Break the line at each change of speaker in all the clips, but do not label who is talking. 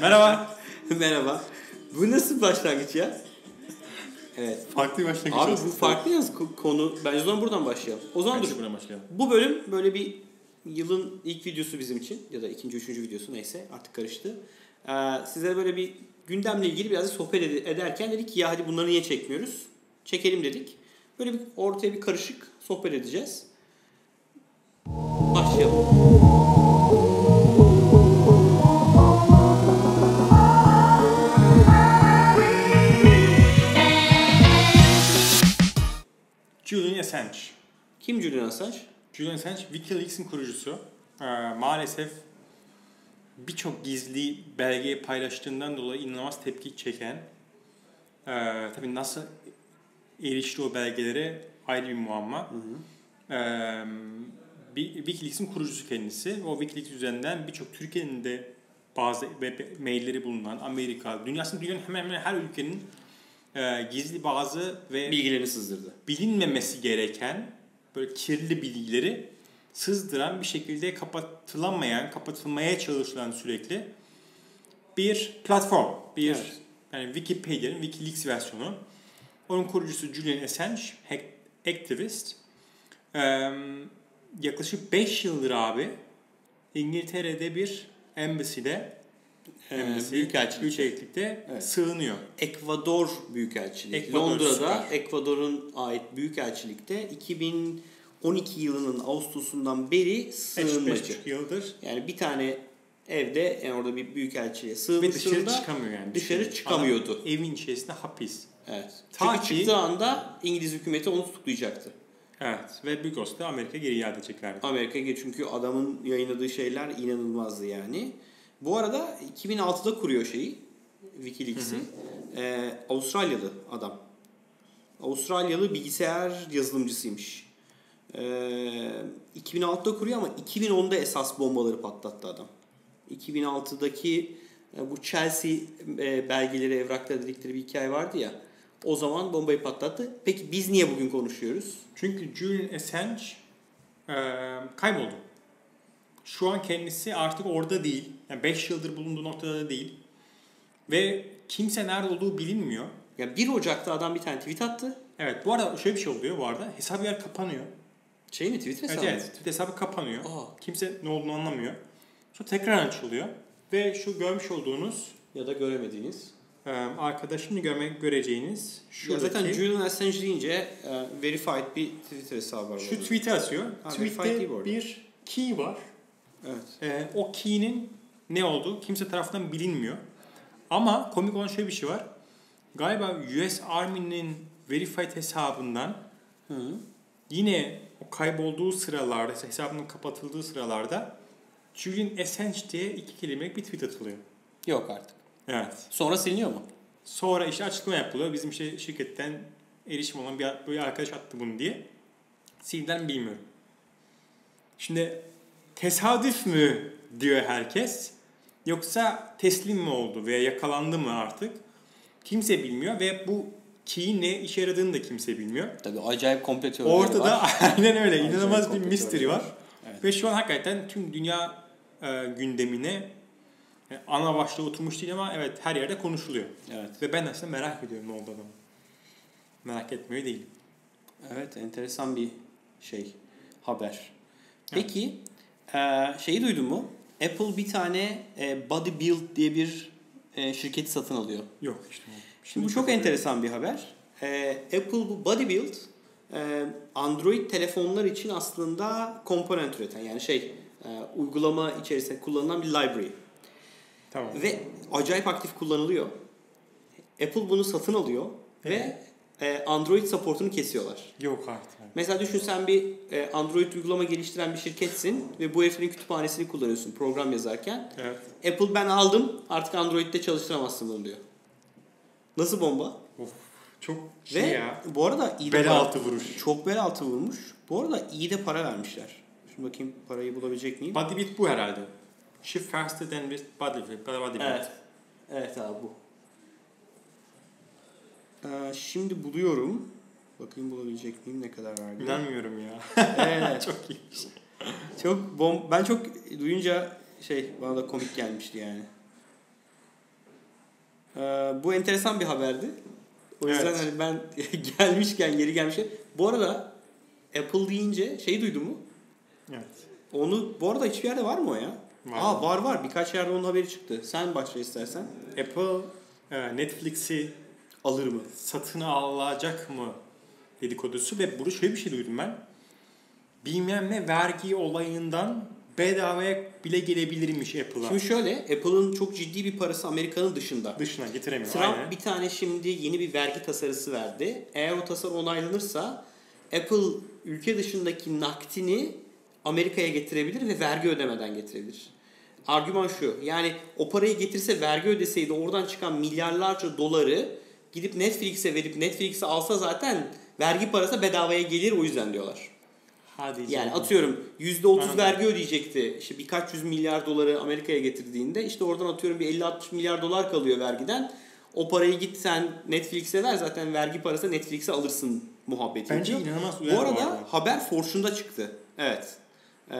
Merhaba.
Merhaba. Bu nasıl başlangıç ya? Evet.
Farklı bir başlangıç.
Abi bu
olsun.
farklı yalnız ko- konu. Bence o zaman buradan başlayalım. O zaman dur.
Bence buradan başlayalım.
Bu bölüm böyle bir yılın ilk videosu bizim için ya da ikinci üçüncü videosu neyse artık karıştı. Ee, size böyle bir gündemle ilgili birazcık sohbet ed- ederken dedik ki ya hadi bunları niye çekmiyoruz? Çekelim dedik. Böyle bir ortaya bir karışık sohbet edeceğiz. Başlayalım.
Julian Assange.
Kim Julian Assange?
Julian Assange Wikileaks'in kurucusu. Ee, maalesef birçok gizli belgeyi paylaştığından dolayı inanılmaz tepki çeken ee, tabii nasıl erişti o belgelere ayrı bir muamma. Ee, bir- Wikileaks'in kurucusu kendisi. O Wikileaks üzerinden birçok Türkiye'nin de bazı web mailleri bulunan Amerika, dünyasının dünyanın hemen hemen her ülkenin ee, gizli bazı ve
Bilgilerini sızdırdı.
bilinmemesi gereken böyle kirli bilgileri sızdıran bir şekilde kapatılamayan, kapatılmaya çalışılan sürekli bir platform. Bir
Evet.
yani Wikipedia'nın Wikileaks versiyonu. Onun kurucusu Julian Assange, hack, aktivist. Ee, yaklaşık 5 yıldır abi İngiltere'de bir embassy'de
Ee,
embassy,
büyükelçilikte.
büyükelçilikte
Evet.
sığınıyor.
Ekvador Büyükelçiliği.
Ekvador,
Londra'da
süper.
Ekvador'un ait Büyükelçilikte 2012 yılının Ağustos'undan beri sığınmacı.
5,5 yıldır
Yani bir tane evde yani orada bir büyükelçiliğe
Ve dışarı
sığındığında
çıkamıyor yani.
dışarı
Adam
çıkamıyordu.
evin içerisinde hapis.
evet.
Ta
Çünkü
ki-
çıktığı anda İngiliz hükümeti onu tutuklayacaktı.
Evet. Ve Bigos da Amerika geri iade edeceklerdi.
Amerika'ya çünkü adamın yayınladığı şeyler inanılmazdı yani. Bu arada 2006'da kuruyor şeyi Wikileaks'i. Ee, Avustralyalı adam. Avustralyalı bilgisayar yazılımcısıymış. Ee, 2006'da kuruyor ama 2010'da esas bombaları patlattı adam. 2006'daki e, bu Chelsea e, belgeleri evrakları dedikleri bir hikaye vardı ya. O zaman bombayı patlattı. Peki biz niye bugün konuşuyoruz?
Çünkü Julian Assange e, kayboldu. Şu an kendisi artık orada değil. Yani 5 yıldır bulunduğu noktada değil. Ve kimse nerede olduğu bilinmiyor.
Ya 1 Ocak'ta adam bir tane tweet attı.
Evet bu arada şöyle bir şey oluyor bu arada. Hesap yer kapanıyor.
Şey mi Twitter
Evet,
hesabı?
evet. Twitter hesabı kapanıyor.
Aa.
Kimse ne olduğunu anlamıyor. Sonra tekrar açılıyor. Ve şu görmüş olduğunuz
Ya da göremediğiniz.
e, arkada şimdi görme, göreceğiniz
Ya
şuradaki...
zaten Julian Assange deyince e, verified bir Twitter hesabı var.
Şu
orada.
tweet'i atıyor.
Ha, verified değil
Tweet'te
bu arada.
bir key var.
Evet.
Ee, o key'nin ne olduğu kimse tarafından bilinmiyor. Ama komik olan şöyle bir şey var. Galiba US Army'nin verified hesabından
Hı.
yine o kaybolduğu sıralarda, hesabının kapatıldığı sıralarda Julian Assange diye iki kelimelik bir tweet atılıyor.
Yok artık.
Evet.
Sonra siliniyor mu?
Sonra işte açıklama yapılıyor. Bizim işte şirketten erişim olan bir, bir arkadaş attı bunu diye. Silden bilmiyorum. Şimdi tesadüf mü diyor herkes yoksa teslim mi oldu veya yakalandı mı artık kimse bilmiyor ve bu key'in ne işe yaradığını da kimse bilmiyor.
Tabii acayip komple teorileri var.
Ortada aynen öyle
Acayip
inanılmaz bir
komple
mystery
teorileri
var.
Evet.
Ve şu an hakikaten tüm dünya e, gündemine e, ana başlığı oturmuş değil ama evet her yerde konuşuluyor.
Evet.
Ve ben aslında merak ediyorum ne oldu adamın. Merak etmiyor değilim.
Evet enteresan bir şey. Haber. Peki e, şeyi duydun mu? Apple bir tane e, Bodybuild diye bir e, şirketi satın alıyor.
Yok işte.
Şimdi bu çok enteresan bir haber. Ee, Apple bu Bodybuild e, Android telefonlar için aslında komponent üreten yani şey e, uygulama içerisinde kullanılan bir library.
Tamam.
Ve acayip aktif kullanılıyor. Apple bunu satın alıyor ve e, Android supportunu kesiyorlar.
Yok artık.
Mesela düşün sen bir e, Android uygulama geliştiren bir şirketsin ve bu herifin kütüphanesini kullanıyorsun program yazarken.
Evet.
Apple ben aldım artık Android'de çalıştıramazsın bunu diyor. Nasıl bomba?
Of. Çok
Ve
şey ya.
bu arada iyi de
Bel
para-
altı vuruş.
Çok bel altı vurmuş. Bu arada iyi de para vermişler. Şimdi bakayım parayı bulabilecek miyim?
Body beat bu herhalde. She faster than with body beat. Body beat.
Evet. Evet abi bu. Ee, şimdi buluyorum. Bakayım bulabilecek miyim ne kadar verdi.
İnanmıyorum ya.
Evet.
çok iyi.
çok bom ben çok duyunca şey bana da komik gelmişti yani. Ee, bu enteresan bir haberdi. O yüzden
Evet.
hani ben gelmişken geri gelmişken. Bu arada Apple deyince şey duydun mu?
Evet.
Onu bu arada hiçbir yerde var mı o ya?
Var.
Aa var var birkaç yerde onun haberi çıktı. Sen başla istersen.
Apple e, Netflix'i
Alır mı?
satın alacak mı dedikodusu ve burada şöyle bir şey duydum ben. Bilmem ne vergi olayından bedavaya bile gelebilirmiş Apple'a.
Şimdi şöyle Apple'ın çok ciddi bir parası Amerika'nın dışında.
Dışına getiremiyor.
Trump
aynen.
bir tane şimdi yeni bir vergi tasarısı verdi. Eğer o tasarı onaylanırsa Apple ülke dışındaki nakdini Amerika'ya getirebilir ve vergi ödemeden getirebilir. Argüman şu. Yani o parayı getirse vergi ödeseydi oradan çıkan milyarlarca doları gidip Netflix'e verip Netflix'e alsa zaten vergi parası bedavaya gelir o yüzden diyorlar.
Hadi
Yani
canım.
atıyorum %30
Anladım.
vergi ödeyecekti. İşte birkaç yüz milyar doları Amerika'ya getirdiğinde işte oradan atıyorum bir 50-60 milyar dolar kalıyor vergiden. O parayı git sen Netflix'e ver zaten vergi parası Netflix'e alırsın muhabbeti.
Bence
diyor.
inanılmaz
bu
uyar
arada, haber Fortune'da çıktı. Evet. Ee,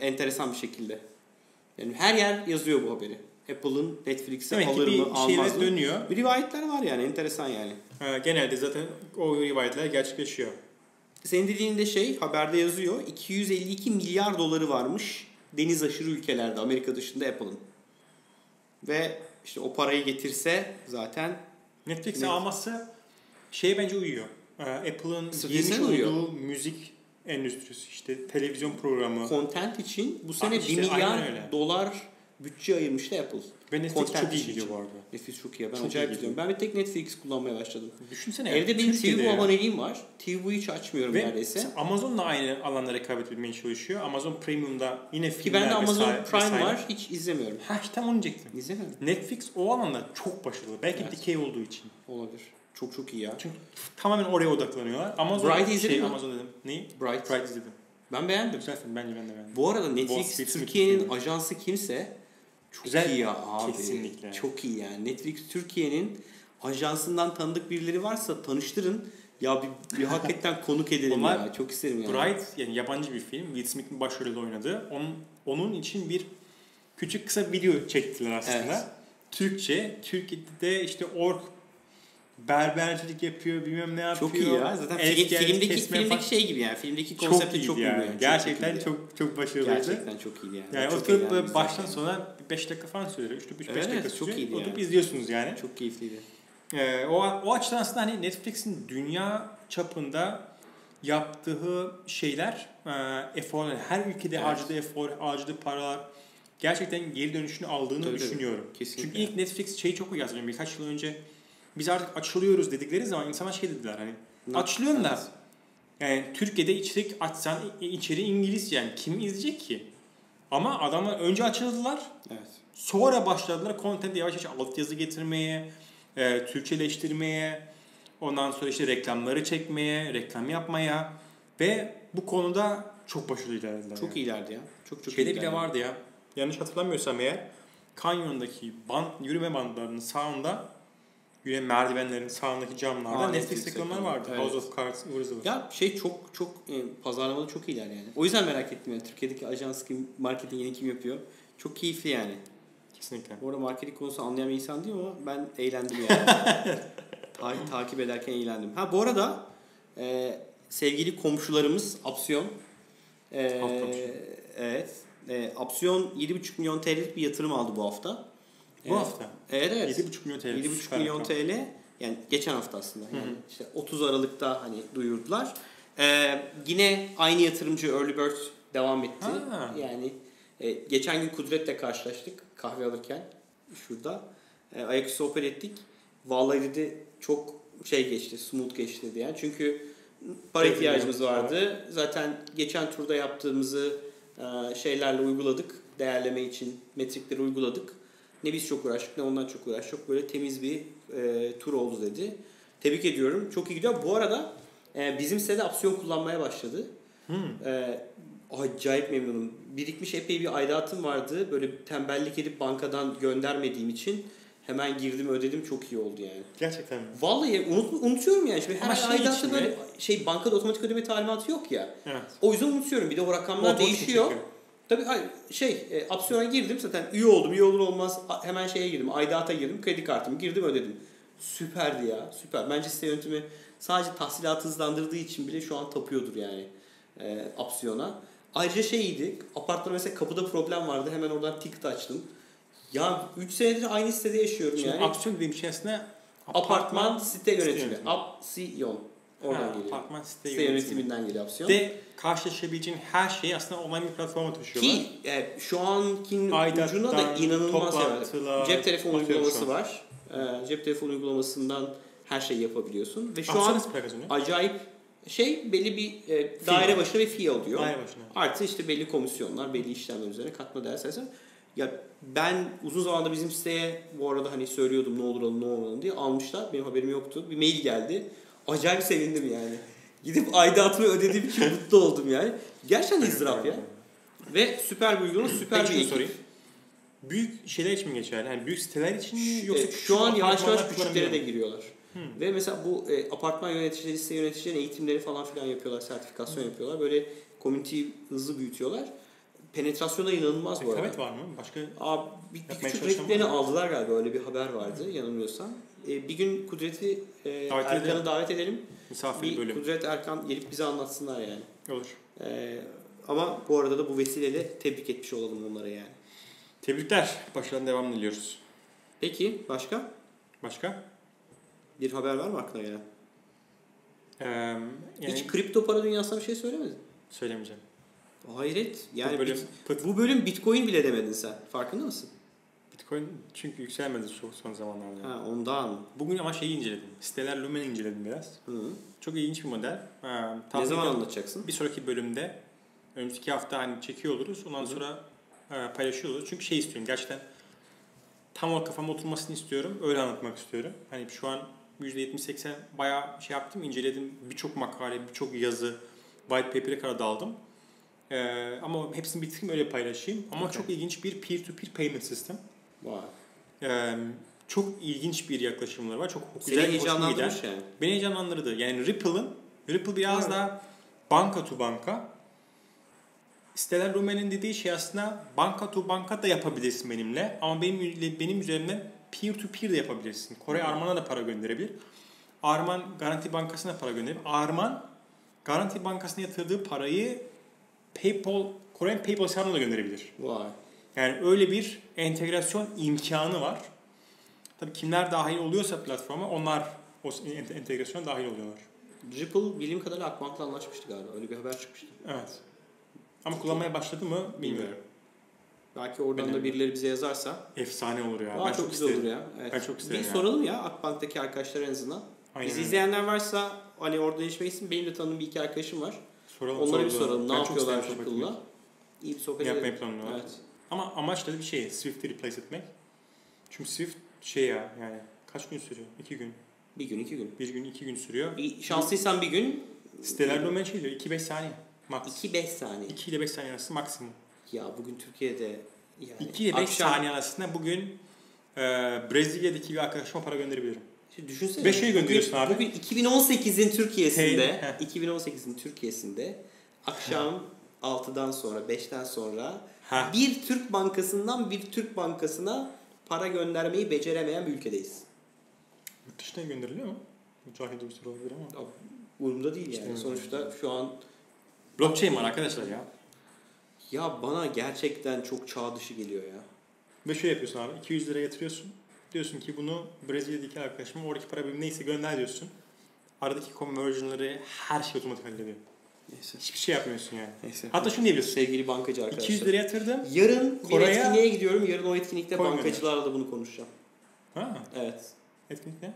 enteresan bir şekilde. Yani her yer yazıyor bu haberi. Apple'ın Netflix'e
Demek ki
alır
bir
mı almaz
şeyler
mı?
dönüyor.
Bir rivayetler var yani enteresan yani.
Ee, genelde zaten o rivayetler gerçekleşiyor.
Senin dediğin de şey haberde yazıyor. 252 milyar doları varmış deniz aşırı ülkelerde Amerika dışında Apple'ın. Ve işte o parayı getirse zaten
Netflix'i
Net-
alması şey bence uyuyor. Ee, Apple'ın
Stratejisine
girmiş
uyuyor.
olduğu müzik endüstrisi işte televizyon programı
content için bu sene
işte
1
aynen
milyar
öyle.
dolar bütçe ayırmıştı Apple.
ve Netflix
content
çok iyi
için.
gidiyor bu arada.
Netflix çok iyi. Ben
Çok
acayip
iyi
izliyorum. Ben bir tek Netflix kullanmaya başladım.
Düşünsene.
Evde benim
Türkiye'de
TV
ya.
aboneliğim var. TV'yi hiç açmıyorum
Ve
neredeyse.
Amazon'la aynı alanda rekabet etmeye çalışıyor. Amazon Premium'da yine
Ki
filmler
bende Amazon
vesaire-
Prime
vesaire.
var. Hiç izlemiyorum.
Ha işte tam onu diyecektim.
İzlemiyorum.
Netflix o alanda çok başarılı. Belki
Evet.
dikey olduğu için.
Olabilir. Çok çok iyi ya.
Çünkü tamamen oraya odaklanıyorlar. Amazon
Bright'i izledin
şey,
mi?
Amazon dedim. Neyi?
Bright.
Bright izledim.
Ben beğendim.
Güzel film bence ben de beğendim.
Bu arada
Wall
Netflix
Street
Türkiye'nin
Smith'in.
ajansı kimse çok
Güzel,
iyi ya abi.
kesinlikle.
Çok iyi yani. Netflix Türkiye'nin ajansından tanıdık birileri varsa tanıştırın. Ya bir, bir hakikaten konuk edelim
Onlar
ya. Çok isterim yani.
Bright yani yabancı bir film. Will Smith'in başrolünde oynadığı. Onun, onun için bir küçük kısa video çektiler aslında.
Evet.
Türkçe. Türkiye'de işte ork berbercilik yapıyor bilmem ne yapıyor.
Çok iyi ya. Zaten
El
film-
gel-
filmdeki
kesme
filmdeki
falan.
şey gibi yani. Filmdeki
çok
konsepti
iyiydi
çok, iyi.
yani.
yani. Çok,
Gerçekten
iyiydi.
çok çok başarılıydı.
gerçekten çok iyi yani.
Yani
Çok
oturup
eğlendim
böyle baştan
zaten.
sona 5 dakika falan sürüyor. 3-5
Evet,
dakika
evet, çok
sürüyor.
iyiydi
Oturup
yani.
izliyorsunuz yani.
çok keyifliydi.
Ee, o, o açıdan aslında hani Netflix'in dünya çapında yaptığı şeyler, e, efor, yani her ülkede
Evet.
harcadığı efor, harcadığı paralar gerçekten geri dönüşünü aldığını
Tabii, tabii.
düşünüyorum.
Kesinlikle.
Çünkü ilk Netflix şeyi çok uyardım birkaç yıl önce. Biz artık açılıyoruz dedikleri zaman insanlar şey dediler hani
Ne-
açılıyorsun da
Evet.
yani Türkiye'de içerik açsan i- içeri İngilizce yani kim izleyecek ki? Ama adamlar önce açıldılar
Evet.
Sonra başladılar kontenti yavaş yavaş altyazı getirmeye, e, Türkçeleştirmeye, ondan sonra işte reklamları çekmeye, reklam yapmaya ve bu konuda çok başarılı ilerlediler.
Çok iyilerdi ya. Çok çok
Şeyde
iyilerdi.
bile vardı ya. Yanlış hatırlamıyorsam eğer Canyon'daki band, yürüme bandlarının sağında yürüme merdivenlerin sağındaki camlarda
Aa,
Netflix
Netflix
reklamları
reklamı.
vardı.
Evet.
House of Cards, Urzula.
Ya şey çok çok e, pazarlamada çok iyiler yani. O yüzden merak ettim yani Türkiye'deki ajans kim, marketingini kim yapıyor. Çok keyifli yani.
Kesinlikle.
Bu arada marketing konusu anlayan bir insan değil ama ben eğlendim yani. Ta- takip ederken eğlendim. Ha bu arada e, sevgili komşularımız Apsiyon. e,
Alt komşu.
evet. E, Apsiyon 7,5 milyon TL'lik bir yatırım aldı bu hafta.
Bu
Evet.
hafta
Evet evet.
7,5 milyon TL.
7,5
süper
milyon
rakam.
TL yani geçen hafta aslında yani işte 30 Aralık'ta hani duyurdular. Ee, yine aynı yatırımcı Early Bird devam etti.
Ha.
Yani e, geçen gün Kudret'le karşılaştık kahve alırken şurada. E, ayaküstü sohbet ettik. Vallahi dedi çok şey geçti, smooth geçti dedi yani. Çünkü para
Evet,
ihtiyacımız
evet.
vardı. Zaten geçen turda yaptığımızı e, şeylerle uyguladık. Değerleme için metrikleri uyguladık. Ne biz çok uğraştık ne ondan çok uğraştık. Böyle temiz bir e, tur oldu dedi. Tebrik ediyorum. Çok iyi gidiyor. Bu arada e, bizim sitede opsiyon kullanmaya başladı.
Hmm.
E, acayip memnunum. Birikmiş epey bir aidatım vardı. Böyle tembellik edip bankadan göndermediğim için hemen girdim ödedim. Çok iyi oldu yani.
Gerçekten mi?
Vallahi unut, unutuyorum yani. Şimdi her
Ama şey için
aidatı böyle
mi?
şey bankada otomatik ödeme talimatı yok ya.
Evet.
O yüzden unutuyorum. Bir de o rakamlar
Otomatik
değişiyor.
çekiyor.
Tabii hayır, şey e, opsiyona girdim zaten üye oldum. Üye olur olmaz a- hemen şeye girdim. Aidat'a girdim. Kredi kartımı girdim ödedim. Süperdi ya. Süper. Bence site yönetimi sadece tahsilatı hızlandırdığı için bile şu an tapıyordur yani e, opsiyona. Ayrıca şey iyiydi. Apartmanda mesela kapıda problem vardı. Hemen oradan ticket açtım. Ya 3 senedir aynı sitede yaşıyorum
Şimdi
yani.
aksiyon dediğim şey aslında
apartman, site yönetimi.
yönetimi.
Apsiyon. Oradan
Ha,
geliyor.
Apartman site,
Site
yönetimi.
yönetiminden geliyor opsiyon.
De karşılaşabileceğin her şeyi aslında online bir platforma taşıyorlar.
Ki e, şu ankinin
Aidattan,
ucuna da inanılmaz
toplantılar,
yani. Cep telefonu
bakıyorum
uygulaması
şu
var. E, cep telefonu uygulamasından her şeyi yapabiliyorsun. Ve şu an
Atsanız plakasını.
acayip şey belli bir e, daire başına bir fee alıyor.
Daire başına.
Artı işte belli komisyonlar, belli işlemler üzerine katma değer sayesinde. Ya ben uzun zamanda bizim siteye bu arada hani söylüyordum ne olur alın ne olmalı diye almışlar. Benim haberim yoktu. Bir mail geldi. Acayip sevindim yani. Gidip aidatımı ödediğim için mutlu oldum yani. Gerçekten ızdırap ya. Ve süper bir uygulama, süper
Peki
bir
şunu
ekip.
sorayım. Büyük şeyler için mi geçerli? Yani büyük siteler için mi
Şu-
yoksa
e,
küçük
şu an yavaş yavaş
apartmanlar Hmm.
küçüklere
kullanabiliyor
de
mu?
giriyorlar. Ve mesela bu e, apartman yöneticileri, site yöneticilerinin eğitimleri falan filan yapıyorlar, sertifikasyon
Hmm.
yapıyorlar. Böyle komüniteyi hızlı büyütüyorlar. Penetrasyona inanılmaz bu arada.
Rekabet var mı? Başka
Abi, bir, bir
E, Yapmaya
küçük
çalışan
rakiplerini
var mı?
aldılar galiba öyle bir haber vardı yanılmıyorsam. E, bir gün Kudret'i e,
Davet
Erkan'ı
edelim.
davet edelim.
misafir
Bir
bölüm
Kudret Erkan gelip bize anlatsınlar yani.
olur.
E, ama bu arada da bu vesileyle tebrik etmiş olalım onlara yani.
Tebrikler. Başarılı devam diliyoruz.
Peki başka
Başka?
bir haber var mı aklına gelen?
Ee, yani
Hiç kripto para dünyasına bir şey söylemedin.
söylemeyeceğim.
Hayret.
bu
Yani
bölüm
bit-
pıt.
bu bölüm Bitcoin bile demedin sen. Farkında mısın?
Bitcoin çünkü yükselmedi son, son zamanlarda.
Ha ondan.
Bugün ama şeyi inceledim. Siteler Lumen'i inceledim biraz.
Hı.
Çok ilginç bir model. Ee,
Ne
tahmin
zaman
ediyorum-
anlatacaksın?
Bir sonraki bölümde önümüzdeki hafta hani çekiyor oluruz. Ondan
Hı hı.
sonra e, paylaşıyor oluruz. Çünkü şey istiyorum gerçekten tam olarak kafama oturmasını istiyorum. Öyle anlatmak istiyorum. Hani şu an %70-80 bayağı şey yaptım, inceledim. Birçok makale, birçok yazı, white paper'e kadar daldım. E, ama hepsini bitireyim öyle paylaşayım. Ama
Okey.
çok ilginç bir peer-to-peer payment system.
Vay.
E, çok ilginç bir yaklaşımları var. Çok
Seni
güzel, hoşuma giden.
heyecanlandırmış yani.
Beni heyecanlandırdı. Yani Ripple'ın, Ripple biraz
Evet.
daha banka to banka. Siteler Rumen'in dediği şey aslında banka to banka da yapabilirsin benimle. Ama benim benim üzerimden peer to peer de yapabilirsin. Kore Arman'a da para gönderebilir. Arman Garanti Bankası'na para gönderip Arman Garanti Bankası'na yatırdığı parayı PayPal Kore'nin PayPal hesabına da gönderebilir.
Vay.
Yani öyle bir entegrasyon imkanı var. Tabii kimler dahil oluyorsa platforma onlar o ent- entegrasyona dahil oluyorlar.
Ripple bilim kadarıyla Akbank'la anlaşmıştı galiba. Öyle bir haber çıkmıştı.
Evet. Ama kullanmaya başladı mı bilmiyorum.
Belki oradan da
Önemli.
birileri bize yazarsa.
Efsane olur ya.
Aa,
ben
çok,
çok
güzel
isterim.
olur ya. Evet.
Ben çok isterim
Bir
ya.
soralım ya Akbank'taki arkadaşlar en azından.
Aynen
Bizi
öyle.
izleyenler varsa hani orada yaşamayısın. Benim de tanıdığım bir iki arkadaşım var.
Soralım,
Onlara bir soralım. Ne
Ben çok
yapıyorlar
isterim sohbet
Ripple'la?
etmek.
İyi bir sohbet
Ne
edelim.
yapmayı planlıyorlar?
Evet.
Ama amaç da bir şey. Swift'i replace etmek. Çünkü Swift şey ya yani kaç gün sürüyor? İki gün.
Bir gün iki gün.
Bir gün iki gün sürüyor.
Bir şanslıysan bir gün
Siteler domain şey diyor. 2-5 saniye. Max.
2-5 saniye.
2 ile 5 saniye arası maksimum.
Ya bugün Türkiye'de yani
2 ile 5
akşam-
saniye arasında bugün e, Brezilya'daki bir arkadaşıma para gönderebilirim.
Şimdi düşünsene.
Ve şey gönderiyorsun
bugün,
abi.
Bugün 2018'in Türkiye'sinde,
Hey,
2018'in Türkiye'sinde akşam 6'dan sonra, 5'ten sonra
Ha.
bir Türk bankasından bir Türk bankasına para göndermeyi beceremeyen bir ülkedeyiz.
Yurt dışına gönderiliyor mu? Mücahit bir soru olabilir ama.
Umurumda değil yani.
İşte-
Sonuçta şu an
Blockchain var arkadaşlar ya.
ya bana gerçekten çok çağ dışı geliyor ya.
Ve şöyle yapıyorsun abi. 200 lira yatırıyorsun. Diyorsun ki bunu Brezilya'daki arkadaşıma oradaki para birimi neyse gönder diyorsun. Aradaki conversion'ları her şey otomatik hallediyor.
Neyse.
Hiçbir şey yapmıyorsun yani.
Neyse.
Hatta şunu diyebiliyorsun.
sevgili bankacı arkadaşlar.
200 lira yatırdım.
Yarın
Kore'ye-
bir etkinliğe gidiyorum. Yarın o etkinlikte
Koymuyorlar.
bankacılarla da bunu konuşacağım.
Ha,
Evet.
etkinlik ne?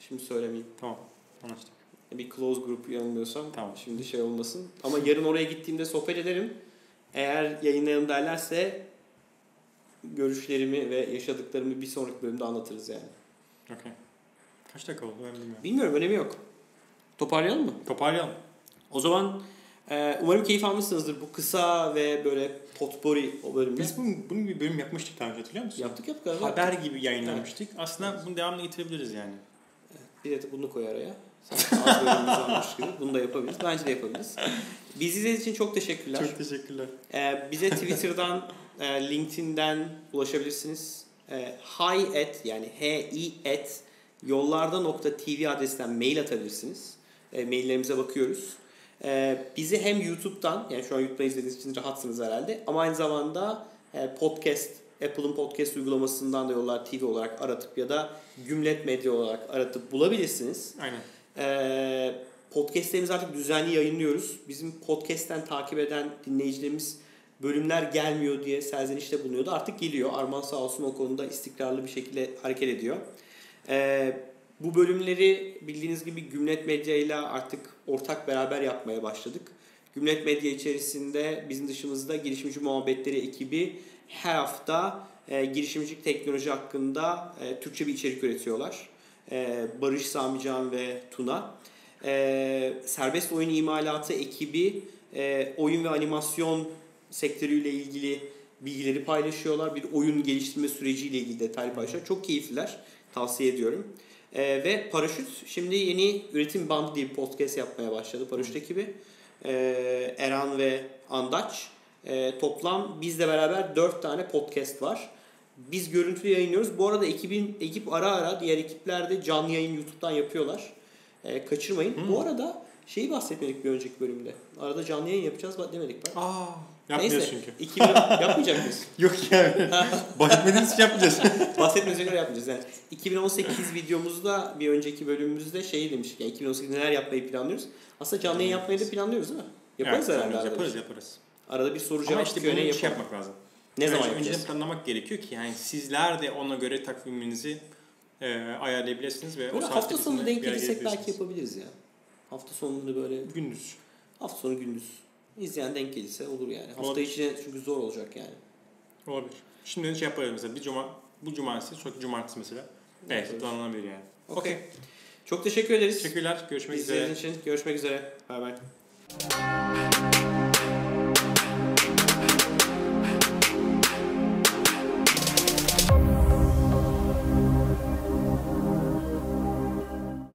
Şimdi söylemeyeyim.
Tamam. Anlaştık.
Bir close grup yanılmıyorsam
Tamam.
şimdi şey olmasın. Ama yarın oraya gittiğimde sohbet ederim. Eğer yayınlayalım derlerse görüşlerimi ve yaşadıklarımı bir sonraki bölümde anlatırız yani.
Okey. Kaç dakika oldu ben bilmiyorum.
Bilmiyorum önemi yok. Toparlayalım mı?
Toparlayalım.
O zaman e, umarım keyif almışsınızdır bu kısa ve böyle potpourri o bölümde.
Biz bunu, bunu bir bölüm yapmıştık daha önce hatırlıyor musun?
yaptık yaptık abi.
Haber gibi yayınlamıştık. Aslında bunu devamlı getirebiliriz yani.
Bir de bunu koy araya. Sanki az bölümümüz varmış gibi. Bunu da yapabiliriz. Bence de yapabiliriz. Bizi izlediğiniz için çok teşekkürler.
Çok teşekkürler.
Ee, bize Twitter'dan, e, LinkedIn'den ulaşabilirsiniz. E, hi at yani h i at yollarda.tv adresinden mail atabilirsiniz. E, maillerimize bakıyoruz. E, bizi hem YouTube'dan yani şu an YouTube'dan izlediğiniz için rahatsınız herhalde ama aynı zamanda e, podcast Apple'ın podcast uygulamasından da Yollar TV olarak aratıp ya da Gümlet Medya olarak aratıp bulabilirsiniz.
Aynen.
Ee, podcastlerimizi artık düzenli yayınlıyoruz. Bizim podcast'ten takip eden dinleyicilerimiz bölümler gelmiyor diye serzenişte bulunuyordu. Artık geliyor. Arman sağ olsun o konuda istikrarlı bir şekilde hareket ediyor. Ee, bu bölümleri bildiğiniz gibi Gümlet Medya ile artık ortak beraber yapmaya başladık. Gümlet Medya içerisinde bizim dışımızda girişimci muhabbetleri ekibi her hafta e, girişimcilik teknoloji hakkında e, Türkçe bir içerik üretiyorlar. E, Barış Samican ve Tuna. E, serbest oyun imalatı ekibi e, oyun ve animasyon sektörüyle ilgili bilgileri paylaşıyorlar. Bir oyun geliştirme süreciyle ilgili detaylı paylaşıyorlar. Çok keyifliler. Tavsiye ediyorum. E, ve Paraşüt şimdi yeni Üretim Bandı diye bir podcast yapmaya başladı Paraşüt ekibi. E, Eren ve Andaç. E, toplam bizle beraber 4 tane podcast var. Biz görüntülü yayınlıyoruz. Bu arada ekibin ekip ara ara diğer ekiplerde canlı yayın YouTube'dan yapıyorlar. E, kaçırmayın. Bu arada şeyi bahsetmedik bir önceki bölümde. Arada canlı yayın yapacağız bak demedik. Bak.
Aa, yapmıyoruz
Neyse,
çünkü.
2000 yapmayacak mıyız?
Yok yani. Bahsetmediğiniz için yapmayacağız.
Bahsetmemize göre yapmayacağız. Yani 2018 videomuzda bir önceki bölümümüzde şey demiştik. Yani 2018 neler yapmayı planlıyoruz. Aslında canlı yayın yapmayı da planlıyoruz değil mi? Yaparız
Evet,
herhalde.
Yaparız
Arada.
yaparız.
arada bir soru
Ama
cevap
işte
Q&A
bunu
yapalım.
şey yapmak lazım.
Ne zaman
Önce-
yapacağız?
Önceden planlamak gerekiyor ki yani sizler de ona göre takviminizi e, ayarlayabilirsiniz ve o
Böyle
saatte
hafta sonu
bizimle
denk
bir araya
gelirsek belki
gelebilirsiniz.
yapabiliriz ya. Hafta sonunu böyle
Gündüz.
hafta sonu gündüz. İzleyen denk gelirse olur yani. Hafta
Olabilir.
içi çünkü zor olacak yani.
Olabilir. Şimdi şey yaparız mesela bir cuma bu cumartesi, çok cumartesi mesela. Evet,
Yaparız.
planlanabilir yani.
Okey.
Okey.
Çok teşekkür ederiz.
Teşekkürler. Görüşmek üzere.
İzlediğiniz için görüşmek üzere. Bay bay.